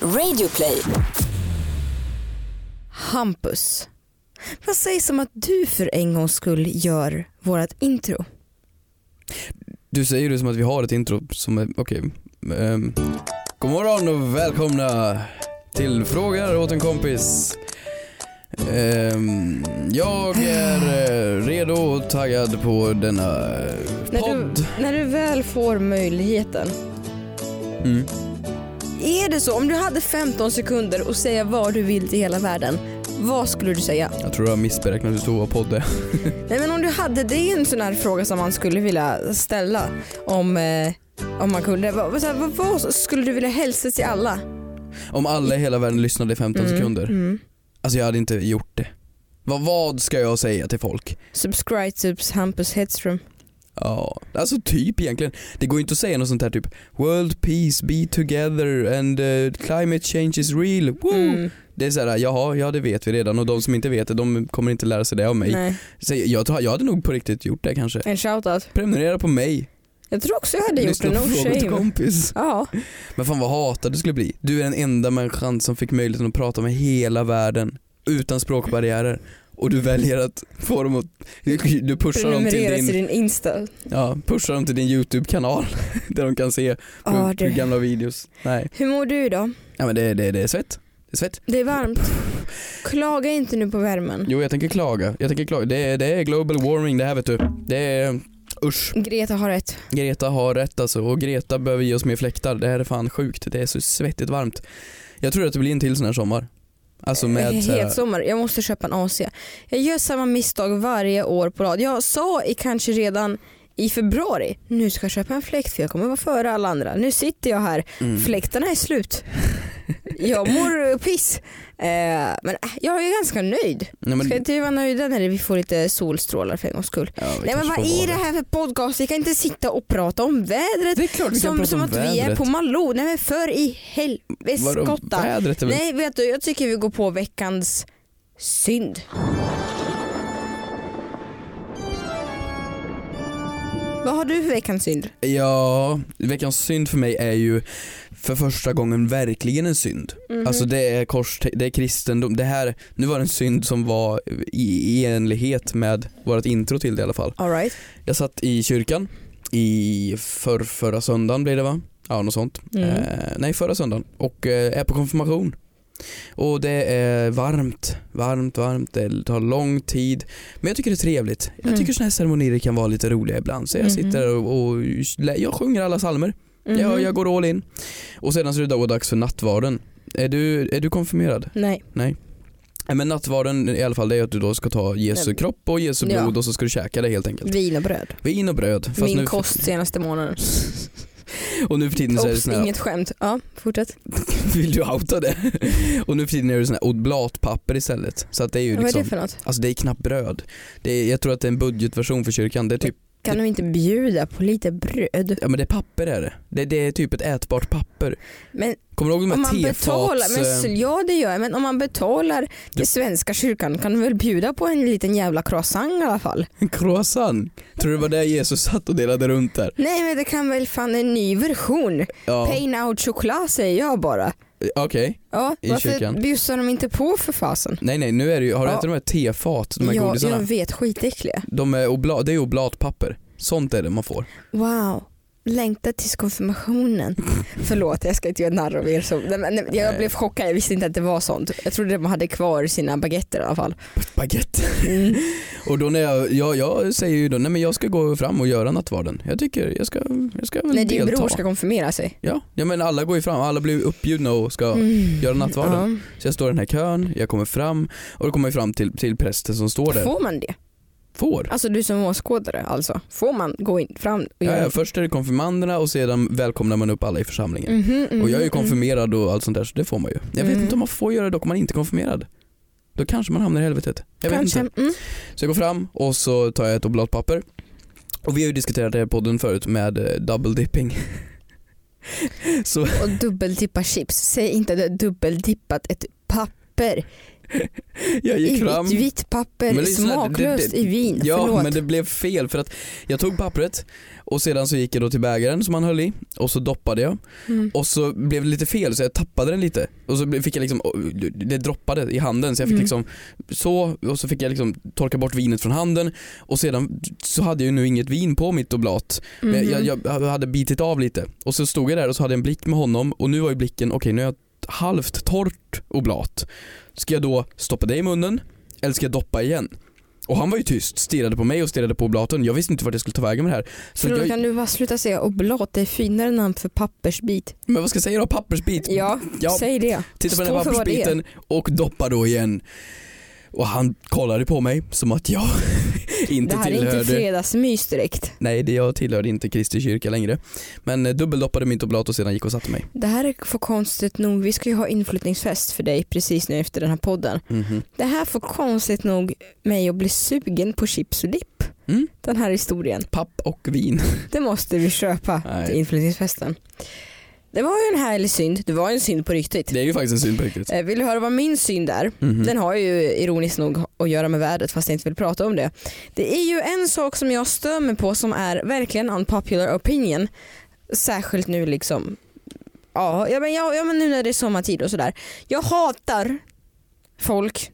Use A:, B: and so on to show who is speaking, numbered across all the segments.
A: Radioplay.
B: Hampus, vad sägs om att du för en gångs skull gör vårt intro?
C: Du säger det som att vi har ett intro som är, okej. Um, god morgon och välkomna till Frågar åt en kompis. Ehm, jag är eh, redo och taggad på denna eh,
B: När
C: podd.
B: du, när du väl får möjligheten.
C: Mm.
B: Är det så, om du hade 15 sekunder och säga vad du vill till hela världen, vad skulle du säga?
C: Jag tror jag har missberäknat hur stor vår podd är.
B: Nej men om du hade, det är ju en sån här fråga som man skulle vilja ställa om, eh, om man kunde. Vad, så här, vad, vad skulle du vilja hälsa till alla?
C: Om alla i hela världen lyssnade i 15 sekunder.
B: Mm.
C: Alltså jag hade inte gjort det. Vad, vad ska jag säga till folk?
B: Subscribe to Hampus Hedström.
C: Ja, alltså typ egentligen. Det går ju inte att säga något sånt här typ World peace, be together and eh, climate change is real. Woo!
B: Mm,
C: Det är såhär, jaha, ja det vet vi redan och de som inte vet det de kommer inte lära sig det av mig.
B: nej.
C: Så jag, tar- jag hade nog på riktigt gjort det kanske.
B: En shoutout.
C: Prenumerera på mig,
B: Jag tror också jag hade gjort
C: lyssna
B: det,
C: på
B: no
C: frågor till
B: shame.
C: kompis.
B: Ja,
C: Men fan vad hatad du skulle bli. Du är den enda människan som fick möjligheten att prata med hela världen utan språkbarriärer. Och du väljer att få dem att, du pushar dem till
B: prenumerera
C: din,
B: till din Insta.
C: ja, pushar dem till din YouTube-kanal där de kan se på,
B: Ja,
C: på
B: du.
C: gamla videos. Nej,
B: Hur mår du idag?
C: ja, men det, det, det är svett. Det är svett.
B: Det är varmt. Klaga inte nu på värmen.
C: Jo jag tänker klaga, jag tänker klaga. Det, är, det är global warming det här vet du. Det är, usch.
B: Greta har rätt.
C: Greta har rätt alltså och Greta behöver ge oss mer fläktar. Det här är fan sjukt, det är så svettigt varmt. Jag tror att det blir en till sån här sommar. Alltså med så här,
B: Het sommar. Jag måste köpa en AC. Jag gör samma misstag varje år på rad. Jag sa i kanske redan i februari, nu ska jag köpa en fläkt för jag kommer vara före alla andra. Nu sitter jag här,
C: mm.
B: fläktarna är slut. Jag mår piss. Eh, men äh, jag är ganska nöjd.
C: Nej, men,
B: Ska inte vi vara nöjda när vi får lite solstrålar för en gångs skull?
C: ja, vi
B: Nej men
C: kanske
B: vad
C: får
B: är
C: vara
B: det här för podcast? Vi kan inte sitta och prata om vädret.
C: Det är klart vi kan
B: Som,
C: prata
B: som
C: om
B: att
C: vädret.
B: vi är på Malou. Nej men för i
C: Vadå,
B: helveskotta.
C: vädret är väl...
B: Nej vet du, jag tycker vi går på veckans synd. Vad har du för veckans synd?
C: Ja, veckans synd för mig är ju för första gången verkligen en synd. Alltså det är kors, det är kristendom. Det här, nu var det en synd som var i, i enlighet med vårt intro till det i alla fall.
B: All right.
C: Jag satt i kyrkan i för, förra söndagen blir det va? Ja något sånt.
B: Mm.
C: Eh, nej förra söndagen och eh, är på konfirmation. Och det är varmt, varmt, varmt, det tar lång tid. Men jag tycker det är trevligt. Jag
B: Mm.
C: tycker sådana här ceremonier kan vara lite roliga ibland. Så jag
B: Mhm.
C: sitter där och, och lä- jag sjunger alla psalmer.
B: Mhm.
C: Jag, jag går all in. Och sedan så är det då dags för nattvarden. Är du, är du konfirmerad?
B: Nej.
C: Nej, Men nattvarden i alla fall det är att du då ska ta Jesu
B: Nej.
C: kropp och Jesu
B: Mm. Ja.
C: blod och så ska du käka det helt enkelt.
B: Vin och bröd.
C: Vin och bröd. Fast
B: Min
C: nu för-
B: kost senaste månaden.
C: Och nu för tiden så är det
B: Oops,
C: sån här,
B: inget skämt. Ja, fortsätt.
C: vill du outa det? Och nu för tiden är det sån här oblatpapper istället. Så att det är ju
B: Vad är det
C: liksom,
B: för något?
C: alltså det är knappt bröd. Det är, jag tror att det är en budgetversion för kyrkan. Det är typ,
B: Kan de inte bjuda på lite bröd?
C: ja men det är papper är det. Det, det är typ ett ätbart papper.
B: Men
C: Kommer du ihåg de
B: Om
C: här
B: man
C: tefats...
B: betalar, men,
C: eh,
B: s- ja det gör jag, men om man betalar till svenska kyrkan kan du väl bjuda på en liten jävla croissant i alla fall?
C: eh, croissant? Tror du det var där Jesus satt och delade runt där?
B: Nej men det kan väl fan en ny version.
C: Ja,
B: Pain out choklad säger jag bara.
C: okej.
B: Ja,
C: I
B: varför
C: kyrkan.
B: bjussar de inte på för fasen?
C: Nej nej, nu är det ju, har du
B: Ja.
C: ätit de här tefat, de här
B: Ja, jag
C: godisarna?
B: vet, skitäckliga.
C: De är obla, det är oblatpapper. Sånt är det man får.
B: Wow. Längtar tills konfirmationen. Förlåt jag ska inte göra narr av er. Som, nej, men- nej, jag
C: Nej.
B: blev chockad, jag visste inte att det var sånt. Jag trodde de hade kvar sina baguetter i alla fall.
C: Baguette.
B: Mm.
C: Och då när jag, jag, jag säger ju då, nej men jag ska gå fram och göra nattvarden. Jag tycker, jag ska, jag ska väl
B: När din
C: delta.
B: bror ska konfirmera sig.
C: Ja, ja men alla går ju fram, alla blir ju uppbjudna och ska
B: Mm.
C: göra nattvarden. Så jag står i den här kön, jag kommer fram och då kommer jag fram till, till prästen som står
B: Ja.
C: där.
B: Får man det?
C: Får.
B: Alltså du som åskådare alltså, får man gå in fram och
C: Ja,
B: göra
C: ja, först är det konfirmanderna och sedan välkomnar man upp alla i församlingen.
B: Mhm, mhm,
C: Och jag är ju
B: mhm.
C: konfirmerad och allt sånt där så det får man ju. Jag vet
B: Mm.
C: inte om man får göra det dock om man inte är konfirmerad. Då kanske man hamnar i helvetet. Jag vet inte.
B: Kanske. Mm.
C: Så jag går fram och så tar jag ett oblatpapper. Och vi har ju diskuterat det här i podden förut med eh, double dipping. så
B: Och dubbeldippa chips. Säg inte att du har dubbeldippat ett papper.
C: jag
B: I
C: gick fram.
B: vitt, vitt papper,
C: Men det är så här,
B: smaklöst
C: det- det-
B: i vin.
C: Ja
B: Förlåt.
C: men det blev fel för att jag tog pappret och sedan så gick jag då till bägaren som han höll i och så doppade jag
B: Mm.
C: och så blev det lite fel så jag tappade den lite och så blev- fick jag liksom, det droppade i handen så jag fick
B: Mm.
C: liksom så och så fick jag liksom torka bort vinet från handen och sedan så hade jag ju nu inget vin på mitt oblat. Men
B: Mhm.
C: Jag, jag, jag hade bitit av lite och så stod jag där och så hade jag en blick med honom och nu var ju blicken, okej nu är jag ett halvt torrt oblat. Ska jag då stoppa det i munnen eller ska jag doppa igen? Och han var ju tyst, stirrade på mig och stirrade på oblaten. Jag visste inte vart jag skulle ta vägen med det här. Så
B: Förlåt,
C: att jag,
B: kan du bara sluta säga oblat? Det är finare namn för pappersbit.
C: men vad ska jag säga då? Pappersbit?
B: Ja,
C: Ja,
B: säg det.
C: Titta på den
B: Stå
C: här
B: för vad det är.
C: pappersbiten och doppa då igen. Och han kollade på mig som att jag
B: Det
C: inte
B: här är
C: tillhörde...
B: inte fredagsmys direkt.
C: Nej, det- jag tillhörde inte Kristi kyrka längre. Men eh, dubbeldoppade mitt oblat och sedan gick och satte mig.
B: Det här är för konstigt nog, vi ska ju ha inflyttningsfest för dig precis nu efter den här podden.
C: Mhm.
B: Det här får konstigt nog mig att bli sugen på chips och dipp.
C: Mm.
B: Den här historien.
C: Papp och vin.
B: Det måste vi köpa
C: Nej.
B: till inflyttningsfesten. Det var ju en härlig synd. Det var en synd på riktigt.
C: Det är ju faktiskt en synd på riktigt.
B: Eh, Vill du höra vad min synd är?
C: Mhm.
B: Den har ju ironiskt nog att göra med vädret fast jag inte vill prata om det. Det är ju en sak som jag stör mig på som är verkligen unpopular opinion. Särskilt nu liksom. Ja, ja, men, ja, ja men nu när det är sommartid och sådär. Jag hatar folk,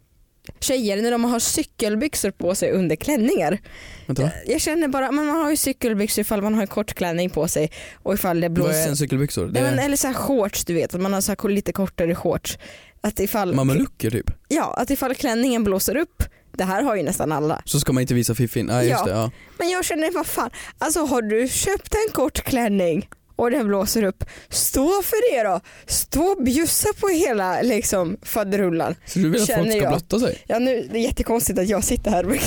B: tjejer, när de har cykelbyxor på sig under klänningar.
C: Vänta, va?
B: Jag känner bara, men man har ju cykelbyxor ifall man har en kort klänning på sig och ifall det
C: Vad är
B: blåser.
C: en cykelbyxor? Det
B: Nej, men,
C: är
B: eller så här shorts du vet, att man har så här lite kortare shorts. Att ifall,
C: mamelucker typ.
B: Ja, att ifall klänningen blåser upp, det här har ju nästan alla.
C: Så ska man inte visa fiffin. Nej, just
B: Ja.
C: det. Ja.
B: Men jag känner, vad fan, alltså har du köpt en kort klänning och den blåser upp, stå för det då. Stå och bjussa på hela liksom faderullan.
C: Så du vill att
B: Känner
C: folk ska
B: jag.
C: blotta sig?
B: Ja nu, det är jättekonstigt att jag sitter här med,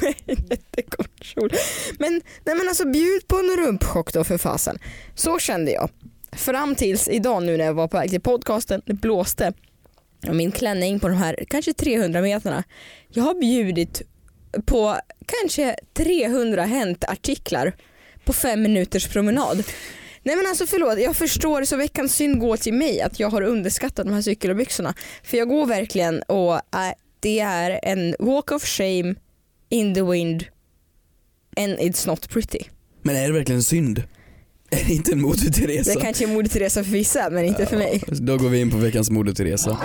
B: med en jättekort kjol. Men, nej men alltså bjud på en rumpchock då för fasen. Så kände jag. Fram tills idag nu när jag var på väg till podcasten, det blåste. Och min klänning på de här kanske 300 meterna. Jag har bjudit på kanske 300 Hänt-artiklar på fem minuters promenad. Nej men alltså förlåt, jag förstår så veckans synd går till mig att jag har underskattat de här cykelbyxorna. För jag går verkligen och äh, det är en walk of shame in the wind and it's not pretty.
C: Men är det verkligen synd? Är det inte en Moder Teresa?
B: Det kanske är modigt resa för vissa men inte för mig.
C: Ja, Då går vi in på veckans Moder Teresa.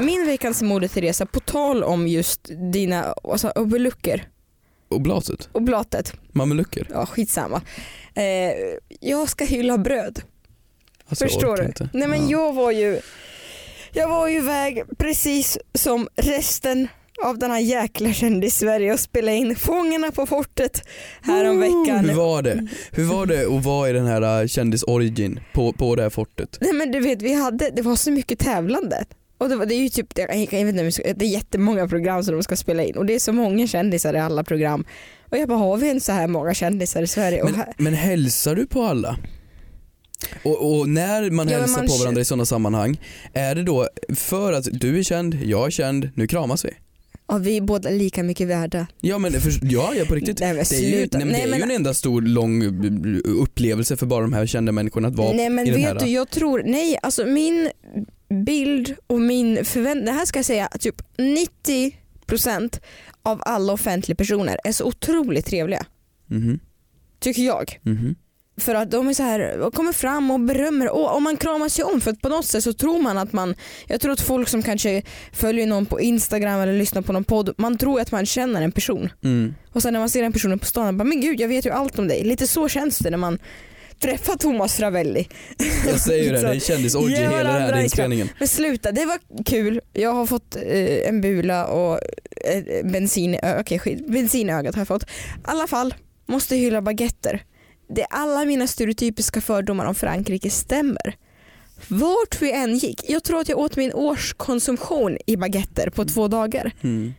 B: Min veckans mode Teresa, på tal om just dina alltså, obelucker
C: Oblatet?
B: och blatet,
C: Mamelucker?
B: ja skitsamma. Eh, jag ska hylla bröd.
C: Alltså, jag
B: Förstår
C: orkar
B: du?
C: Inte.
B: Nej men
C: ja.
B: jag var ju Jag var ju iväg precis som resten av den här jäkla kändis Sverige och spelade in Fångarna på fortet häromveckan.
C: Hur var det? Hur var det att vara i den här äh, kändisorigin på, på det här fortet?
B: Nej men du vet vi hade, det var så mycket tävlande. Och det, var, det är ju typ, jag, jag vet inte, hur ska- det är jättemånga program som de ska spela in och det är så många kändisar i alla program. Och jag bara har vi en så här många kändisar i Sverige? och
C: Men,
B: här,
C: men hälsar du på alla? Och, och när man
B: Ja, men
C: hälsar
B: man
C: på
B: kä-
C: varandra i sådana sammanhang, är det då för att du är känd, jag är känd, nu kramas vi?
B: ja, vi är båda lika mycket värda.
C: Ja men för, ja, ja på riktigt.
B: Nej men
C: Det är, ju, nej,
B: sluta.
C: men det är ju en enda stor lång eh, upplevelse för bara de här kända människorna att vara
B: Nej men
C: i den
B: vet
C: här.
B: du, jag tror, nej alltså min bild och min förväntning, det här ska jag säga, att typ 90% av alla offentliga personer är så otroligt trevliga,
C: Mhm,
B: tycker jag.
C: mhm.
B: För att de är så här, och kommer fram och berömmer och, och man kramar sig om för att på något sätt så tror man att man, jag tror att folk som kanske följer någon på Instagram eller lyssnar på någon podd, man tror att man känner en person.
C: Mm.
B: Och sen när man ser den personen på stan, man bara, men gud jag vet ju allt om dig. Lite så känns det när man träffar Thomas Fravelli.
C: Jag säger ju det, det är en
B: Ge
C: kändisorgie hela den
B: varandra
C: här
B: en
C: inspelningen.
B: Men sluta, det var kul. Jag har fått eh, en bula och eh, bensin, i ö- okej, skit. bensin i ögat har jag fått. I alla fall, måste hylla baguetter. Det alla mina stereotypiska fördomar om Frankrike stämmer. Vart vi än gick, jag tror att jag åt min årskonsumtion i baguetter på två dagar.
C: Mm.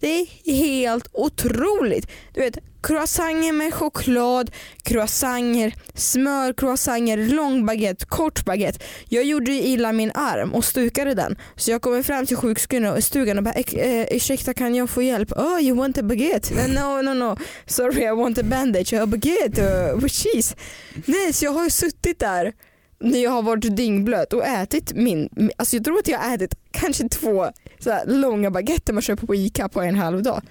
B: Det är helt otroligt. Du vet, croissanger med choklad, croissanger, smör, croissanger, lång baguette, kort baguette. Jag gjorde ju illa min arm och stukade den. Så jag kommer fram till sjukstugan och bara "Ek- eh, ursäkta kan jag få hjälp? Oh you want a baguette? "Eh, No no no, sorry I want a bandage, a baguette uh, with cheese. Nej så jag har ju suttit där när jag har varit dyngblöt och ätit min, alltså jag tror att jag har ätit kanske två så här långa baguetter man köper på ICA på en halv dag.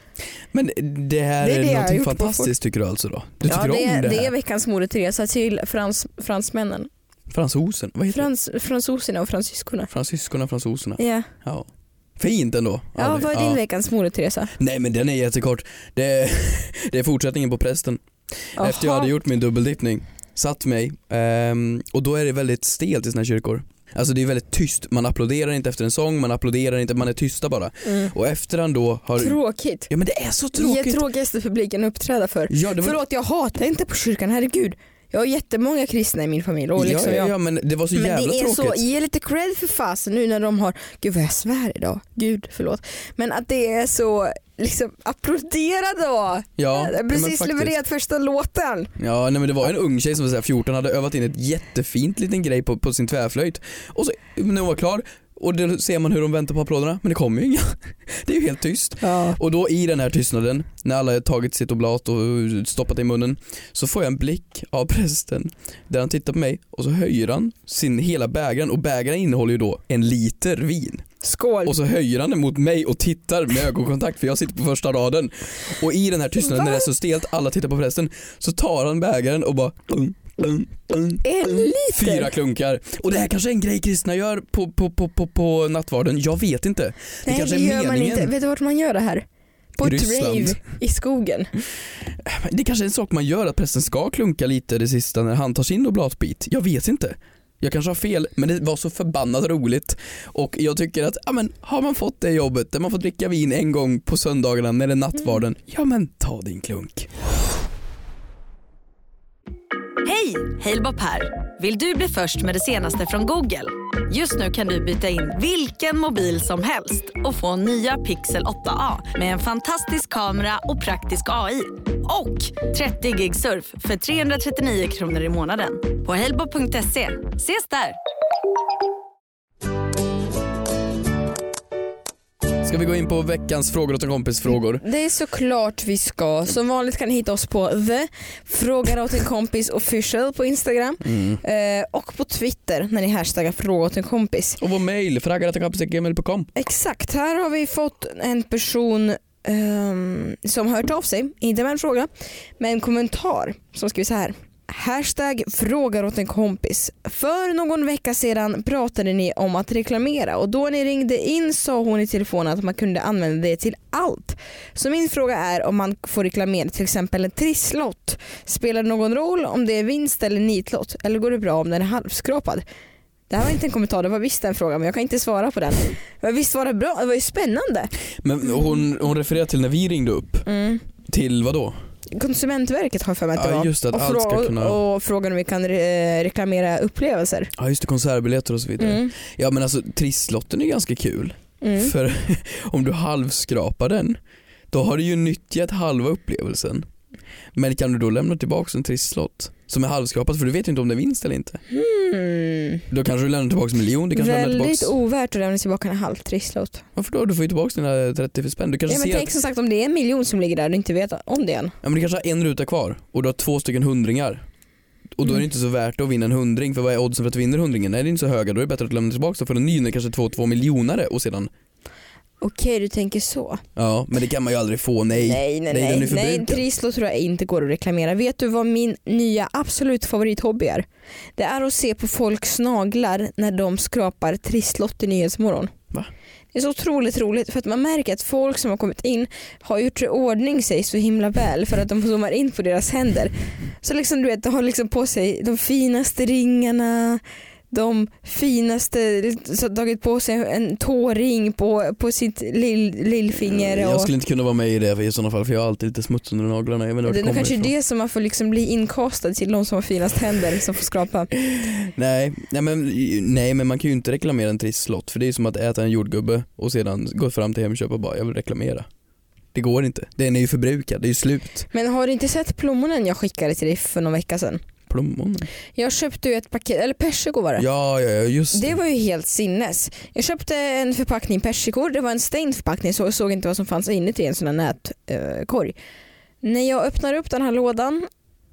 C: Men det här
B: Det är
C: är,
B: det jag har
C: någonting
B: gjort på
C: fantastiskt tycker du alltså då? Du
B: ja,
C: tycker
B: det,
C: om
B: är,
C: det,
B: det är
C: här?
B: veckans moderresa till frans, fransmännen.
C: Fransosen? Vad heter
B: Frans, fransoserna och fransyskorna.
C: det? Fransyskorna, fransoserna.
B: Ja,
C: Ja. Fint ändå.
B: ja
C: det-
B: vad är din veckans moderresa?
C: Nej men den är jättekort. Det är, det är fortsättningen på prästen. Efter jag
B: Jaha.
C: hade gjort min dubbeldippning, satt mig ehm, och då är det väldigt stelt i såna här kyrkor. Alltså det är väldigt tyst, man applåderar inte efter en sång, man applåderar inte, man är tysta bara.
B: Mm.
C: Och efter han då har...
B: Tråkigt.
C: ja men det är så
B: Ge
C: tråkigt.
B: tråkigaste publiken att uppträda för.
C: Ja, det var...
B: Förlåt jag hatar inte på kyrkan, herregud. Jag har jättemånga kristna i min familj och liksom
C: ja,
B: jag.
C: ja men det var så
B: Men det
C: jävla
B: är
C: tråkigt.
B: så, ge lite cred för fasen nu när de har, gud vad jag svär idag, gud förlåt. Men att det är så, liksom applådera då!
C: Ja,
B: Jag har
C: men
B: Precis
C: faktiskt.
B: levererat första låten.
C: Ja, nej, men det var en ung tjej som var så här 14 hade övat in ett jättefint liten grej på, på sin tvärflöjt. Och så när hon var klar och då ser man hur de väntar på applåderna men det kommer ju inga. Det är ju helt tyst.
B: Ja.
C: Och då i den här tystnaden, när alla har tagit sitt oblat och stoppat det i munnen, så får jag en blick av prästen där han tittar på mig och så höjer han sin hela bägaren och bägaren innehåller ju då en liter vin.
B: Skål.
C: Och så höjer han den mot mig och tittar med ögonkontakt för jag sitter på första raden. Och i den här tystnaden när det är så stelt, alla tittar på prästen, så tar han bägaren och bara dun, dun, dun,
B: en liter.
C: Fyra klunkar. Och det här kanske är en grej kristna gör på, på, på, på, på nattvarden, jag vet inte. Det
B: Nej
C: kanske
B: det
C: är
B: gör man
C: meningen.
B: inte. Vet du vart man gör det här? På ett
C: Ryssland.
B: rave i skogen.
C: Det kanske är en sak man gör att prästen ska klunka lite det sista när han tar sin oblatbit. Jag vet inte. Jag kanske har fel, men det var så förbannat roligt. Och jag tycker att, ja men har man fått det jobbet där man får dricka vin en gång på söndagarna när det är nattvarden,
B: Mm.
C: ja men ta din klunk.
A: Hej! Halebop här. Vill du bli först med det senaste från Google? Just nu kan du byta in vilken mobil som helst och få nya Pixel 8A med en fantastisk kamera och praktisk AI. Och 30 gig surf för 339 kronor i månaden på halebop.se. E. Ses där!
C: Ska vi gå in på veckans frågor åt en kompis frågor?
B: Det är såklart vi ska. Som vanligt kan ni hitta oss på the frågar åt en kompis official på Instagram eh, och på Twitter när ni hashtaggar fråga åt en kompis.
C: Och vår mail, fraggaratakompisgmail.com.
B: Exakt, här har vi fått en person ehm, som har hört av sig, inte med en fråga, med en kommentar som skriver så här. Hashtag frågar åt en kompis. För någon vecka sedan pratade ni om att reklamera och då ni ringde in sa hon i telefonen att man kunde använda det till allt. Så min fråga är om man får reklamera till exempel en trisslott. Spelar det någon roll om det är vinst eller nitlott eller går det bra om den är halvskrapad? Det här var inte en kommentar, det var visst en fråga men jag kan inte svara på den. Men visst var det bra? Det var ju spännande.
C: Men hon, hon refererar till när vi ringde upp.
B: Mm.
C: Till vad då?
B: Konsumentverket har jag för mig att det
C: Ja,
B: var.
C: just det, att
B: och,
C: allt ska
B: frå-
C: kunna-
B: och frågan om vi kan re- reklamera upplevelser.
C: Ja just det, konsertbiljetter och så vidare.
B: Mm.
C: Ja men alltså trisslotten är ganska kul.
B: Mm.
C: För om du halvskrapar den, då har du ju nyttjat halva upplevelsen. Men kan du då lämna tillbaka en trisslott som är halvskrapad för du vet ju inte om det är vinst eller inte.
B: Mm.
C: Då kanske du lämnar tillbaka en miljon, du kanske lämnar
B: Väldigt
C: tillbaka...
B: ovärt att lämna tillbaka en halv trisslott.
C: Varför då? Du får ju tillbaka dina 30 spänn. Du
B: Ja,
C: kanske
B: men
C: ser
B: tänk
C: att...
B: som sagt om det är en miljon som ligger där och du inte vet om det än.
C: Ja men du kanske har en ruta kvar och du har två stycken hundringar. Och då är det
B: Mm.
C: inte så värt att vinna en hundring för vad är oddsen för att du vinner hundringen? Nej det är inte så höga, då är det bättre att lämna tillbaka den för en ny när kanske två två miljonare och sedan
B: Okej du tänker så.
C: Ja men det kan man ju aldrig få, nej.
B: nej, nej.
C: Nej, den är
B: nej. nej
C: förbrukad.
B: en trisslott tror jag inte går att reklamera. Vet du vad min nya absolut favorithobby är? Det är att se på folks naglar när de skrapar trisslott i Nyhetsmorgon.
C: Va?
B: Det är så otroligt roligt för att man märker att folk som har kommit in har gjort i ordning sig så himla väl för att de zoomar in på deras händer. Så liksom du vet, de har liksom på sig de finaste ringarna, de finaste, så har tagit på sig en tåring på, på sitt lill, lillfinger. och...
C: Mm, Eh, Jag skulle inte kunna vara med i det för i sådana fall för jag har alltid lite smuts under naglarna. Jag vet inte vart
B: Det är nog
C: kommer
B: kanske
C: ifrån.
B: det som man får liksom bli inkastad till de som har finast händer som får skrapa.
C: Nej, nej men, nej men man kan ju inte reklamera en trisslott för det är ju som att äta en jordgubbe och sedan gå fram till Hemköp och bara jag vill reklamera. Det går inte, den är ju förbrukad, det är ju slut.
B: Men har du inte sett plommonen jag skickade till dig för någon vecka sedan?
C: Plommon.
B: Jag köpte ju ett paket, eller persikor var det.
C: Ja, ja, ja just
B: Det
C: det.
B: var ju helt sinnes. Jag köpte en förpackning persikor, det var en stängd förpackning så jag såg inte vad som fanns inuti en sån här nätkorg. När jag öppnar upp den här lådan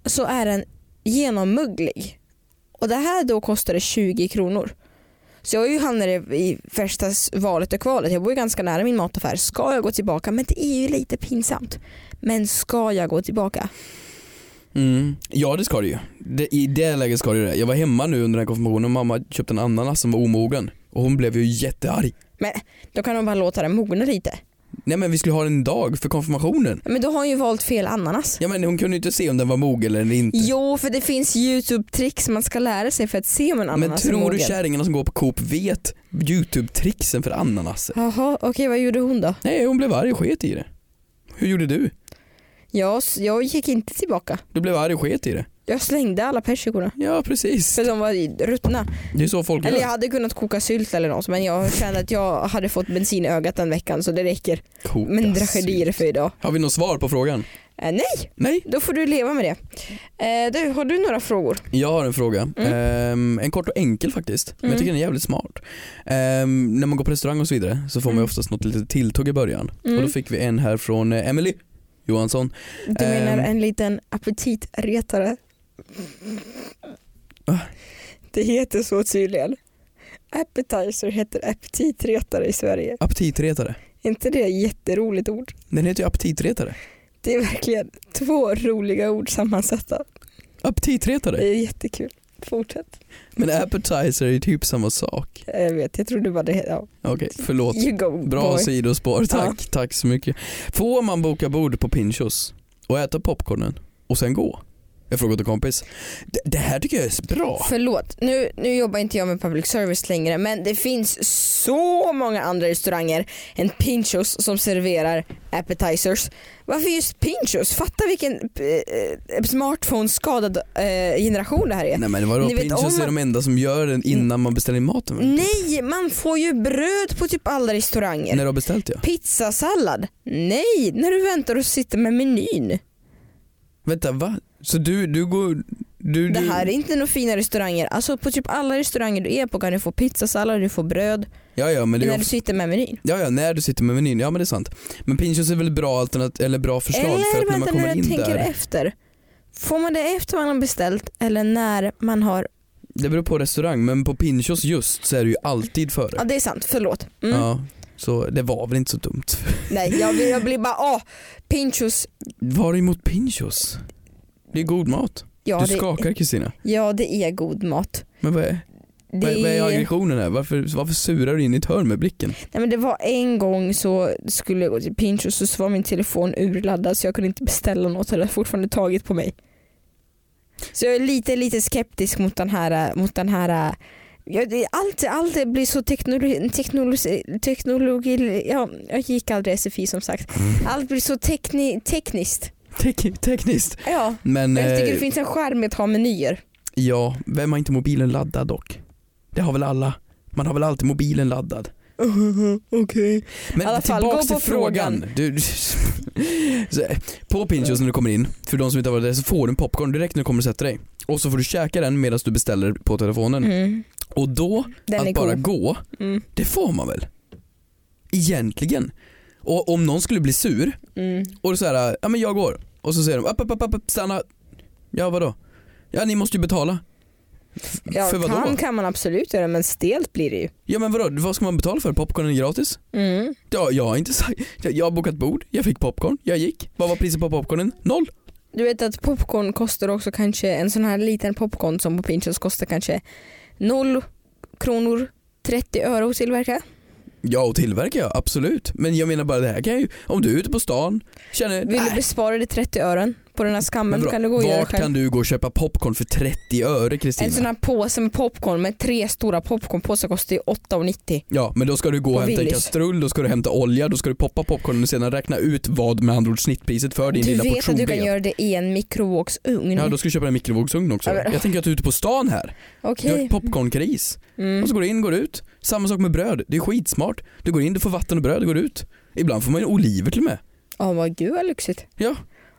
B: så är den genommöglig Och det här då kostade 20 kronor. Så jag har ju handlat i- i värsta s- valet och kvalet. Jag bor ju ganska nära min mataffär. Ska jag gå tillbaka? Men det är ju lite pinsamt. Men ska jag gå tillbaka?
C: Mm. Ja det ska det ju. Det, I det läget ska det ju det. Jag var hemma nu under den här konfirmationen och mamma köpte en ananas som var omogen. Och hon blev ju jättearg.
B: Då kan de bara låta den mogna lite.
C: Nej men vi skulle ha en dag för konfirmationen.
B: Men då har hon ju valt fel ananas.
C: Ja men hon kunde ju inte se om den var mogen eller inte.
B: Jo, för det finns youtube-tricks man ska lära sig för att se om en ananas
C: men
B: är
C: tror du
B: mogen.
C: kärringarna som går på Coop vet YouTube-trixen för ananaser?
B: Jaha, okej vad gjorde hon då?
C: Nej hon blev arg och sket i det. Hur gjorde du?
B: Jag, s- jag gick inte tillbaka.
C: Du blev arg och sket i det.
B: Jag slängde alla persikorna.
C: Ja precis.
B: För de var i- ruttna.
C: Det är så folk
B: Eller jag
C: gör.
B: hade kunnat koka sylt eller något men jag kände att jag hade fått bensin i ögat den veckan så det räcker.
C: Koka
B: Men
C: sylt.
B: tragedier för idag.
C: Har vi något svar på frågan?
B: Eh, nej,
C: Nej?
B: då får du leva med det. Eh, du, har du några frågor?
C: Jag har en fråga. Ehm, en kort och enkel faktiskt. Men jag
B: Mm.
C: tycker den är jävligt smart. Ehm, när man går på restaurang och så vidare så får man ju
B: Mm.
C: oftast något litet tilltugg i början.
B: Mm.
C: Och då fick vi en här från eh, Emily Johansson.
B: Du menar
C: Ehm.
B: en liten aptitretare?
C: Ah.
B: Det heter så tydligen. Appetizer heter aptitretare i Sverige.
C: Aptitretare.
B: inte det ett jätteroligt ord?
C: Den heter ju aptitretare.
B: Det är verkligen två roliga ord sammansatta.
C: Aptitretare.
B: Det är jättekul. Fortsätt.
C: Men appetizer är ju typ samma sak.
B: Jag vet, jag trodde bara det hette... Ja.
C: Okej, förlåt.
B: You go
C: Bra
B: boy.
C: sidospår, tack. Tack så mycket. Får man boka bord på Pinchos och äta popcornen och sen gå? Jag frågade en kompis. Det, det här tycker jag är bra.
B: Förlåt, nu, nu jobbar inte jag med public service längre men det finns så många andra restauranger än Pinchos som serverar appetizers. Varför just Pinchos? Fatta vilken eh, smartphone-skadad eh, generation det här är.
C: Nej men vadå,
B: Ni vet
C: Pinchos
B: om
C: är
B: att- Mm.
C: de enda som gör den innan man beställer in maten väl?
B: Nej, man får ju bröd på typ alla restauranger.
C: När du har beställt ja.
B: Pizzasallad? Nej, när du väntar och sitter med menyn.
C: Vänta va? Så du, du går, du,
B: Det
C: du...
B: här är inte några fina restauranger. Alltså på typ alla restauranger du är på kan du få pizzasallad, du får bröd
C: Ja ja men det är
B: när
C: ju
B: du
C: of...
B: sitter med menyn.
C: Ja ja, när du sitter med menyn, ja men det är sant. Men Pinchos är väl bra alternativ, eller bra förslag för att
B: eller
C: när man
B: vänta när
C: kommer
B: jag
C: in
B: tänker
C: där.
B: efter. Får man det efter man har beställt eller när man har...
C: Det beror på restaurang men på Pinchos just så är det ju alltid före.
B: Ja det är sant, förlåt. Mm.
C: Ja, så det var väl inte så dumt.
B: Nej jag, blir- jag blir bara ah, pinchos.
C: Var är emot pinchos? Det är god mat.
B: Ja,
C: du
B: det,
C: skakar Kristina.
B: ja det är god mat.
C: Men vad är,
B: Det,
C: vad, är- vad är
B: nej,
C: aggressionen här? Varför, varför surar du in i ett hörn med blicken?
B: men det var en gång så skulle jag gå till pinchos och så var min telefon urladdad så jag kunde inte beställa något och det har fortfarande tagit på mig. Så jag är lite, lite skeptisk mot den här, mot den här Ja, det- allt, allt blir så teknologi, teknologi, teknologi ja, jag gick aldrig SFI som sagt. Allt blir så tekni, tekniskt.
C: Tek, tekniskt.
B: Ja.
C: Men
B: Men jag tycker
C: eh,
B: det finns en skärm med att ha menyer.
C: ja, vem har inte mobilen laddad dock? Det har väl alla? Man har väl alltid mobilen laddad?
B: Okej. I alla
C: Men
B: fall,
C: tillbaks
B: gå på
C: till frågan. Du, du- så, på Pinchos när du kommer in, för de som inte har varit där, så får du en popcorn direkt när du kommer och sätter dig. Och så får du käka den medan du beställer på telefonen.
B: Mm.
C: Och då,
B: Den är
C: att bara
B: god.
C: gå,
B: Mm.
C: Det får man väl? Egentligen. Och om någon skulle bli sur
B: Mm.
C: och så här, ja men jag går. Och så säger de, upp, upp, upp, upp, upp stanna. Ja vadå? Ja ni måste ju betala. F-
B: Ja,
C: för vadå?
B: kan, kan man absolut göra men stelt blir det ju.
C: Ja men vadå, vad ska man betala för? Popcornen är gratis?
B: Mm.
C: Ja, jag har inte sagt, jag, jag har bokat bord, jag fick popcorn, jag gick. Vad var priset på popcornen? Noll.
B: Du vet att popcorn kostar också kanske, en sån här liten popcorn som på Pinchos kostar kanske 0 kronor 30 öre att tillverka.
C: Ja och tillverkar jag, absolut. Men jag menar bara det här kan jag ju, om du är ute på stan, känner,
B: Vill
C: "Nej,
B: du bespara dig 30 ören på den här skammen
C: men
B: då
C: vadå,
B: kan du gå och göra
C: vart
B: själv. Alltså,
C: kan du gå och köpa popcorn för 30 öre Kristina?
B: En sån här påse med popcorn med tre stora popcornpåsar kostar ju 8,90.
C: Ja, men då ska du gå och
B: På
C: hämta en
B: Willys.
C: kastrull, då ska du hämta olja, då ska du poppa popcornen och sedan räkna ut vad med andra ord snittpriset för din
B: Du
C: lilla
B: vet
C: portion
B: att du
C: blev.
B: kan göra det i en mikrovågsugn.
C: Ja, då ska du köpa en mikrovågsugn också.
B: Ja, men-
C: Jag tänker att du är ute på stan här, du
B: Okej.
C: har ett popcornkris.
B: Mm.
C: Och så går du in, går du ut. Samma sak med bröd, det är skitsmart. Du går in, du får vatten och bröd, du går ut. Ibland får man ju oliver till och med.
B: Ja, vad gud vad lyxigt.
C: Ja.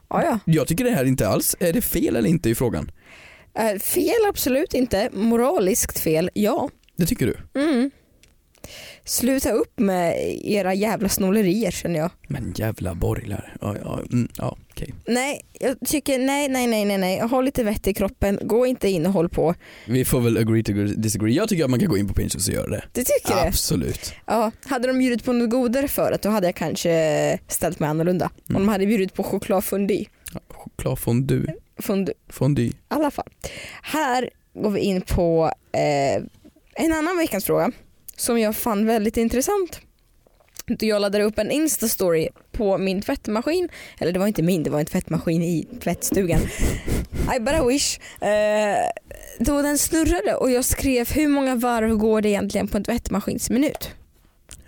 B: Ja, ja.
C: Jag tycker det här inte alls, är det fel eller inte i frågan?
B: Äh, Eh, Fel absolut inte. Moraliskt fel, ja.
C: Det tycker du?
B: Mm. Sluta upp med era jävla snollerier känner jag.
C: Men jävla borglar. Ja, ja, mm, ja okej.
B: Nej, jag tycker nej, nej, nej, nej, nej. Ha lite vett i kroppen. Gå inte in och håll på.
C: Vi får väl agree to disagree. Jag tycker att man kan gå in på Pinchos och göra det.
B: Du tycker det?
C: Absolut.
B: Ja, hade de bjudit på något godare förut då hade jag kanske ställt mig annorlunda. Om de hade bjudit på chokladfondue.
C: Chokladfondue.
B: Fondue.
C: Fondue.
B: I alla fall. Här går vi in på eh, en annan veckans fråga som jag fann väldigt intressant. Då Jag laddade upp en instastory på min tvättmaskin. Eller det var inte min, det var en tvättmaskin i tvättstugan. I bara wish. Eh, då den snurrade och jag skrev hur många varv går det egentligen på en tvättmaskinsminut?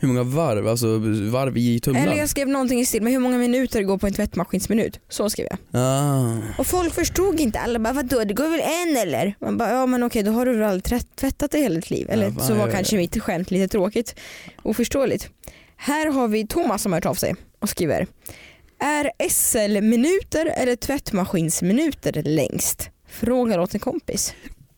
C: Hur många varv? Alltså varv i
B: Eller
C: tumlaren?
B: jag skrev någonting i stil med hur många minuter går på en tvättmaskinsminut? Så skrev jag.
C: Ah.
B: Och folk förstod inte. Alla bara vadå det går väl en eller? Man bara ja men okej då har du väl aldrig tvätt- tvättat i hela ditt liv. Eller
C: Ja, fan,
B: så var
C: jag-
B: kanske mitt skämt lite tråkigt. Oförståeligt. Här har vi Thomas som har hört av sig och skriver. Är SL-minuter eller tvättmaskinsminuter längst? Frågar åt en kompis.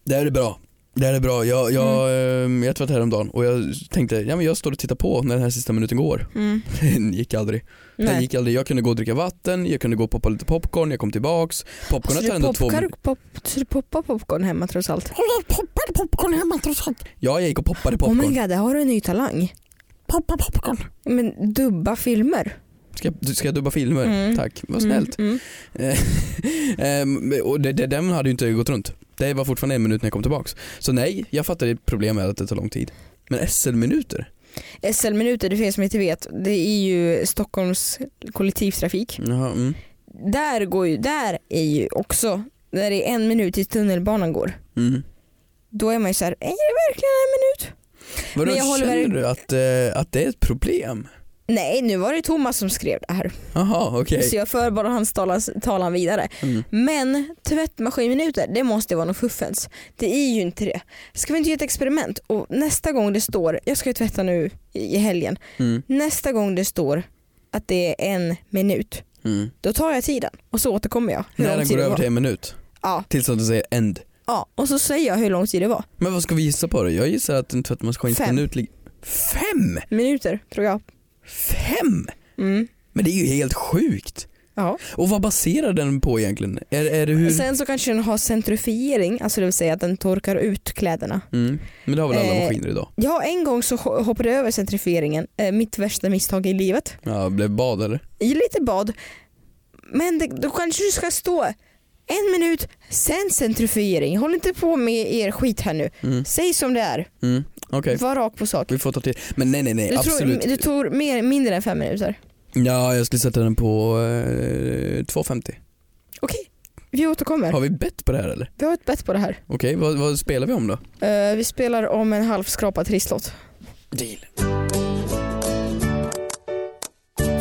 C: Det här är bra. Det här är bra. Jag, jag, mm. jag tvättade häromdagen och jag tänkte, ja men jag står och tittar på när den här sista minuten går.
B: Mm.
C: Den gick aldrig. Den
B: Nej.
C: gick aldrig. Jag kunde gå och dricka vatten, jag kunde gå och poppa lite popcorn, jag kom tillbaks. Popcornet tar
B: Så Alltså, du,
C: ändå två
B: popcorn,
C: minuter.
B: pop, så du poppar popcorn hemma trots allt?
C: Jag poppade popcorn hemma trots allt. Ja, jag gick och poppade popcorn.
B: Oh my god, där har du en ny talang.
C: Poppa popcorn.
B: Men dubba filmer.
C: Ska jag, ska jag dubba filmer?
B: Mm.
C: Tack, vad snällt.
B: Mm, mm.
C: Ehm, och det, det, den hade ju inte gått runt. Det var fortfarande en minut när jag kom tillbaks. Så nej, jag fattar ditt problem med att det tar lång tid. Men SL-minuter?
B: SL-minuter, det finns som inte vet, det är ju Stockholms kollektivtrafik.
C: Jaha, mm.
B: Där, går ju, där är ju också, när det är en minut tills tunnelbanan går,
C: Mm.
B: då är man ju såhär, är det verkligen en minut?
C: Vadå,
B: Men jag håller
C: känner
B: verkligen-
C: du att, eh, att det är ett problem?
B: Nej, nu var det Thomas som skrev det här.
C: Jaha, okej.
B: Så jag för bara hans talan, talan vidare.
C: Mm.
B: Men tvättmaskinminuter, det måste vara något fuffens. Det är ju inte det. Ska vi inte göra ett experiment? Och nästa gång det står, jag ska ju tvätta nu i i helgen,
C: Mm.
B: nästa gång det står att det är en minut,
C: Mm.
B: då tar jag tiden och så återkommer jag. hur
C: När
B: lång
C: den
B: tid
C: går
B: det
C: över
B: var.
C: till en minut.
B: Ja,
C: Tills att du säger end.
B: ja, och så säger jag hur lång tid det var.
C: Men vad ska vi gissa på då? Jag gissar att en tvättmaskinsminut ligger... Fem?
B: Minuter tror jag.
C: Fem?
B: Mm.
C: Men det är ju helt sjukt.
B: Ja.
C: Och vad baserar den på egentligen? Är, är det hur...
B: Sen så kanske den har centrifiering, alltså det vill säga att den torkar ut kläderna.
C: Mm. Men det har väl alla
B: Eh,
C: maskiner idag?
B: Ja, en gång så ho- hoppade jag över centrifieringen, eh, mitt värsta misstag i livet.
C: Ja, blev bad eller?
B: I lite bad. Men det, då kanske du ska stå en minut, sen centrifiering. Håll inte på med er skit här nu.
C: Mm.
B: Säg som det är.
C: Mm. Okej,
B: Var rak på sak.
C: vi får ta till. Men nej nej nej,
B: Du tror,
C: absolut.
B: du tror mer, mindre än fem minuter.
C: Ja, jag skulle sätta den på eh, 2,50.
B: Okej, vi återkommer.
C: Har vi bett på det här eller?
B: Vi har ett bett på det här.
C: Okej, vad, vad spelar vi om då?
B: Eh, vi spelar om en halvskrapad trisslott.
C: Deal.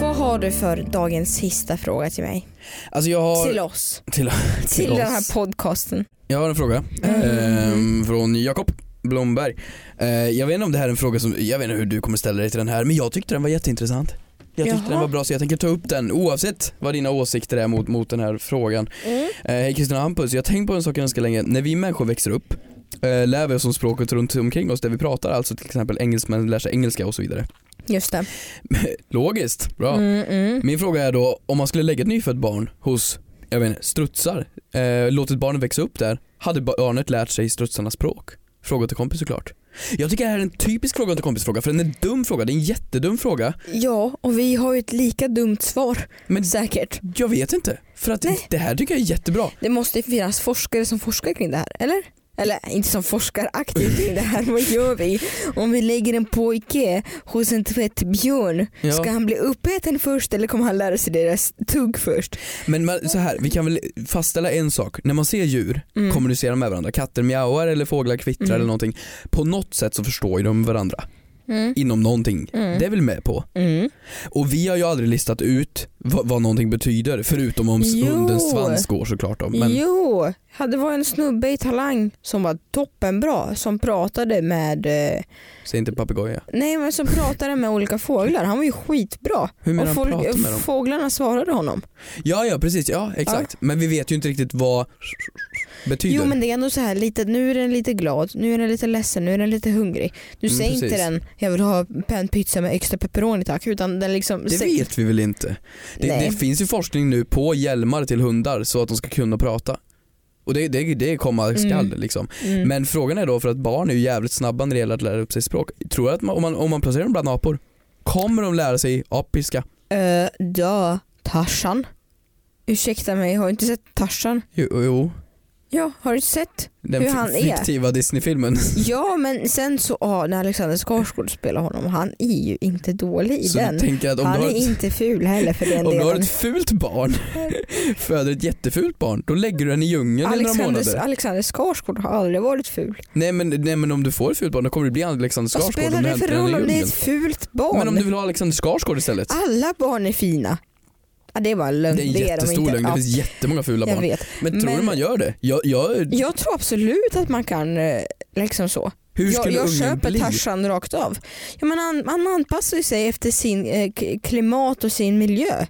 B: Vad har du för dagens sista fråga till mig?
C: Alltså jag har...
B: Till oss.
C: Till,
B: Till,
C: oss.
B: den här podcasten.
C: Jag har en fråga
B: Mm.
C: ehm, från Jakob Blomberg. Eh, jag vet inte om det här är en fråga som, jag vet inte hur du kommer ställa dig till den här men jag tyckte den var jätteintressant. Jag tyckte
B: Jaha.
C: den var bra så jag tänker ta upp den oavsett vad dina åsikter är mot, mot den här frågan. Eh, Hej Kristina och Hampus, jag har tänkt på en sak ganska länge. När vi människor växer upp eh, lär vi oss om språket runt omkring oss där vi pratar, alltså till exempel engelsmän lär sig engelska och så vidare.
B: Just det.
C: Logiskt, bra.
B: Mm, mm.
C: Min fråga är då, om man skulle lägga ett nyfött barn hos, jag vet inte, strutsar, eh, låtit barnet växa upp där, hade barnet lärt sig strutsarnas språk? Fråga till kompis såklart. Jag tycker det här är en typisk fråga till kompis fråga, för den är en dum fråga, det är en jättedum fråga.
B: Ja, och vi har ju ett lika dumt svar.
C: Men
B: Säkert.
C: jag vet inte, för att det här tycker jag är jättebra.
B: Det måste ju finnas forskare som forskar kring det här, eller? Eller inte som forskar aktivt kring det här, vad gör vi? Om vi lägger en pojke hos en tvättbjörn,
C: Ja.
B: ska han bli uppäten först eller kommer han lära sig deras tugg först?
C: Men man, så här, vi kan väl fastställa en sak. När man ser djur
B: Mm.
C: kommunicera med varandra, katter mjauar eller fåglar kvittrar
B: Mm.
C: eller någonting. På något sätt så förstår ju de varandra
B: Mm.
C: inom någonting.
B: Mm.
C: Det är vi med på.
B: Mm.
C: Och vi har ju aldrig listat ut vad, vad någonting betyder förutom om s-
B: Jo.
C: hundens svans går såklart. Då. Men,
B: Jo, det var en snubbe i Talang som var toppenbra som pratade med eh,
C: Säg inte papegoja.
B: Nej men som pratade med olika fåglar, han var ju skitbra.
C: Hur menar
B: och
C: han
B: folk,
C: pratar med dem?
B: fåglarna svarade honom.
C: Ja, ja precis. Ja, exakt. Men vi vet ju inte riktigt vad betyder.
B: Jo men det är ändå så här lite, nu är den lite glad, nu är den lite ledsen, nu är den lite hungrig. Du
C: Mm,
B: säger
C: precis.
B: inte den jag vill ha en pizza med extra pepperoni tack utan den liksom
C: det
B: säger-
C: vet vi väl inte? Det,
B: Nej.
C: det finns ju forskning nu på hjälmar till hundar så att de ska kunna prata. Och det, det, det komma skall
B: Mm.
C: liksom.
B: Mm.
C: Men frågan är då för att barn är ju jävligt snabba när det gäller att lära upp sig språk. Tror jag att man, om, man, om man placerar dem bland apor, kommer de lära sig apiska?
B: Eh, ja, Tarzan. Ursäkta mig, har du inte sett Tarzan?
C: Jo, jo.
B: Ja, har du inte sett?
C: den
B: Hur
C: fi-
B: han är.
C: fiktiva Disney-filmen.
B: Ja, men sen så, ja, när Alexander Skarsgård spelar honom, han är ju inte dålig i
C: Så
B: den.
C: du tänker att om du
B: Han
C: har
B: är
C: ett,
B: inte ful heller för den
C: om du har
B: delen.
C: ett fult barn, föder ett jättefult barn, då lägger du den i djungeln i några
B: Alexander,
C: månader.
B: Alexander Skarsgård har aldrig varit ful.
C: Nej men, nej men om du får ett fult barn då kommer det bli Alexander
B: Vad
C: Skarsgård. om
B: spelar
C: du
B: det för
C: hämtar den i
B: roll om det är
C: djungeln.
B: ett fult barn?
C: Men om du vill ha Alexander Skarsgård istället?
B: Alla barn är fina. Ja, det är bara en lögn.
C: det är en
B: de
C: jättestor
B: inte.
C: lögn, det
B: Ja,
C: finns jättemånga fula
B: jag
C: barn.
B: vet.
C: Men, tror du
B: Men-
C: man gör det? Jag, jag,
B: Jag tror absolut att man kan eh, liksom så.
C: hur
B: jag
C: skulle
B: jag
C: ungen
B: köper
C: bli?
B: Tarzan rakt av. Ja, men han, han anpassar ju sig efter sin eh, k- klimat och sin miljö.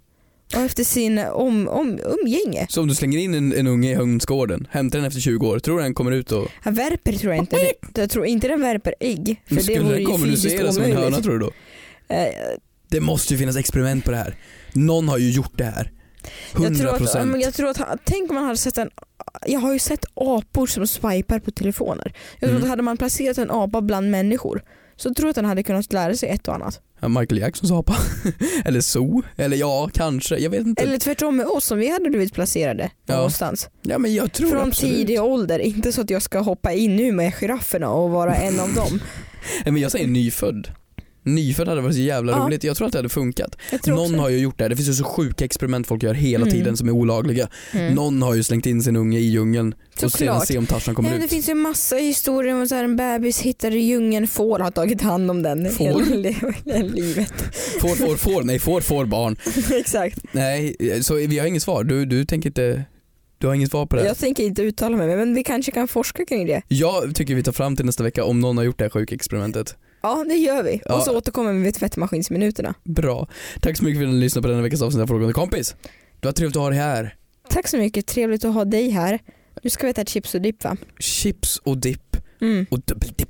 B: Och efter sin eh, om, om, umgänge.
C: Så om du slänger in en, en unge i hönsgården, hämtar den efter 20 år, tror du den kommer ut och...
B: Han värper tror jag inte. Jag tror inte den värper ägg. För det
C: skulle
B: vore
C: den
B: ju fysiskt
C: kommunicera som en höna
B: omöjligt.
C: tror du då?
B: Eh,
C: Det måste ju finnas experiment på det här. Någon har ju gjort det här. 100%.
B: Jag tror att, ja, men jag tror att han- tänk om man hade sett en jag har ju sett apor som swipar på telefoner. Jag tror
C: Mm.
B: att hade man placerat en apa bland människor så tror jag att den hade kunnat lära sig ett och annat.
C: Ja, Michael Jacksons apa. eller zoo. Eller ja, kanske. Jag vet inte.
B: Eller tvärtom med oss om vi hade blivit placerade
C: Ja.
B: någonstans.
C: Ja men jag tror
B: Från
C: absolut.
B: tidig ålder, inte så att jag ska hoppa in nu med girafferna och vara en av dem.
C: Nej, men jag säger nyfödd. Nyfödd hade varit så jävla
B: Ja.
C: roligt. Jag tror att det hade funkat.
B: Jag tror
C: Någon
B: också-
C: har ju gjort det här. Det finns ju så sjuka experiment folk gör hela
B: Mm.
C: tiden som är olagliga.
B: Mm.
C: Någon har ju slängt in sin unge i djungeln och sedan
B: Såklart.
C: se om Tarzan
B: Ja,
C: kommer
B: men det
C: ut.
B: finns ju massa historier om att en bebis hittar i djungeln, får har tagit hand om den
C: Får?
B: hela li- hela livet.
C: Får, får, får. Nej, får, får barn.
B: Exakt.
C: Nej, så vi har inget svar. Du, du tänker inte... Du har inget svar på det här.
B: Jag tänker inte uttala mig men vi kanske kan forska kring det.
C: Jag tycker vi tar fram till nästa vecka om någon har gjort det här sjuka experimentet.
B: Ja det gör vi.
C: Ja.
B: Och så återkommer vi vid tvättmaskinsminuterna.
C: Bra. Tack så mycket för att ni lyssnade på denna veckas avsnitt av Frågande kompis. Det var trevligt att ha dig här.
B: Tack så mycket, trevligt att ha dig här. Du ska vi äta chips och dipp va?
C: Chips och dipp
B: Mm.
C: och dubbeldipp.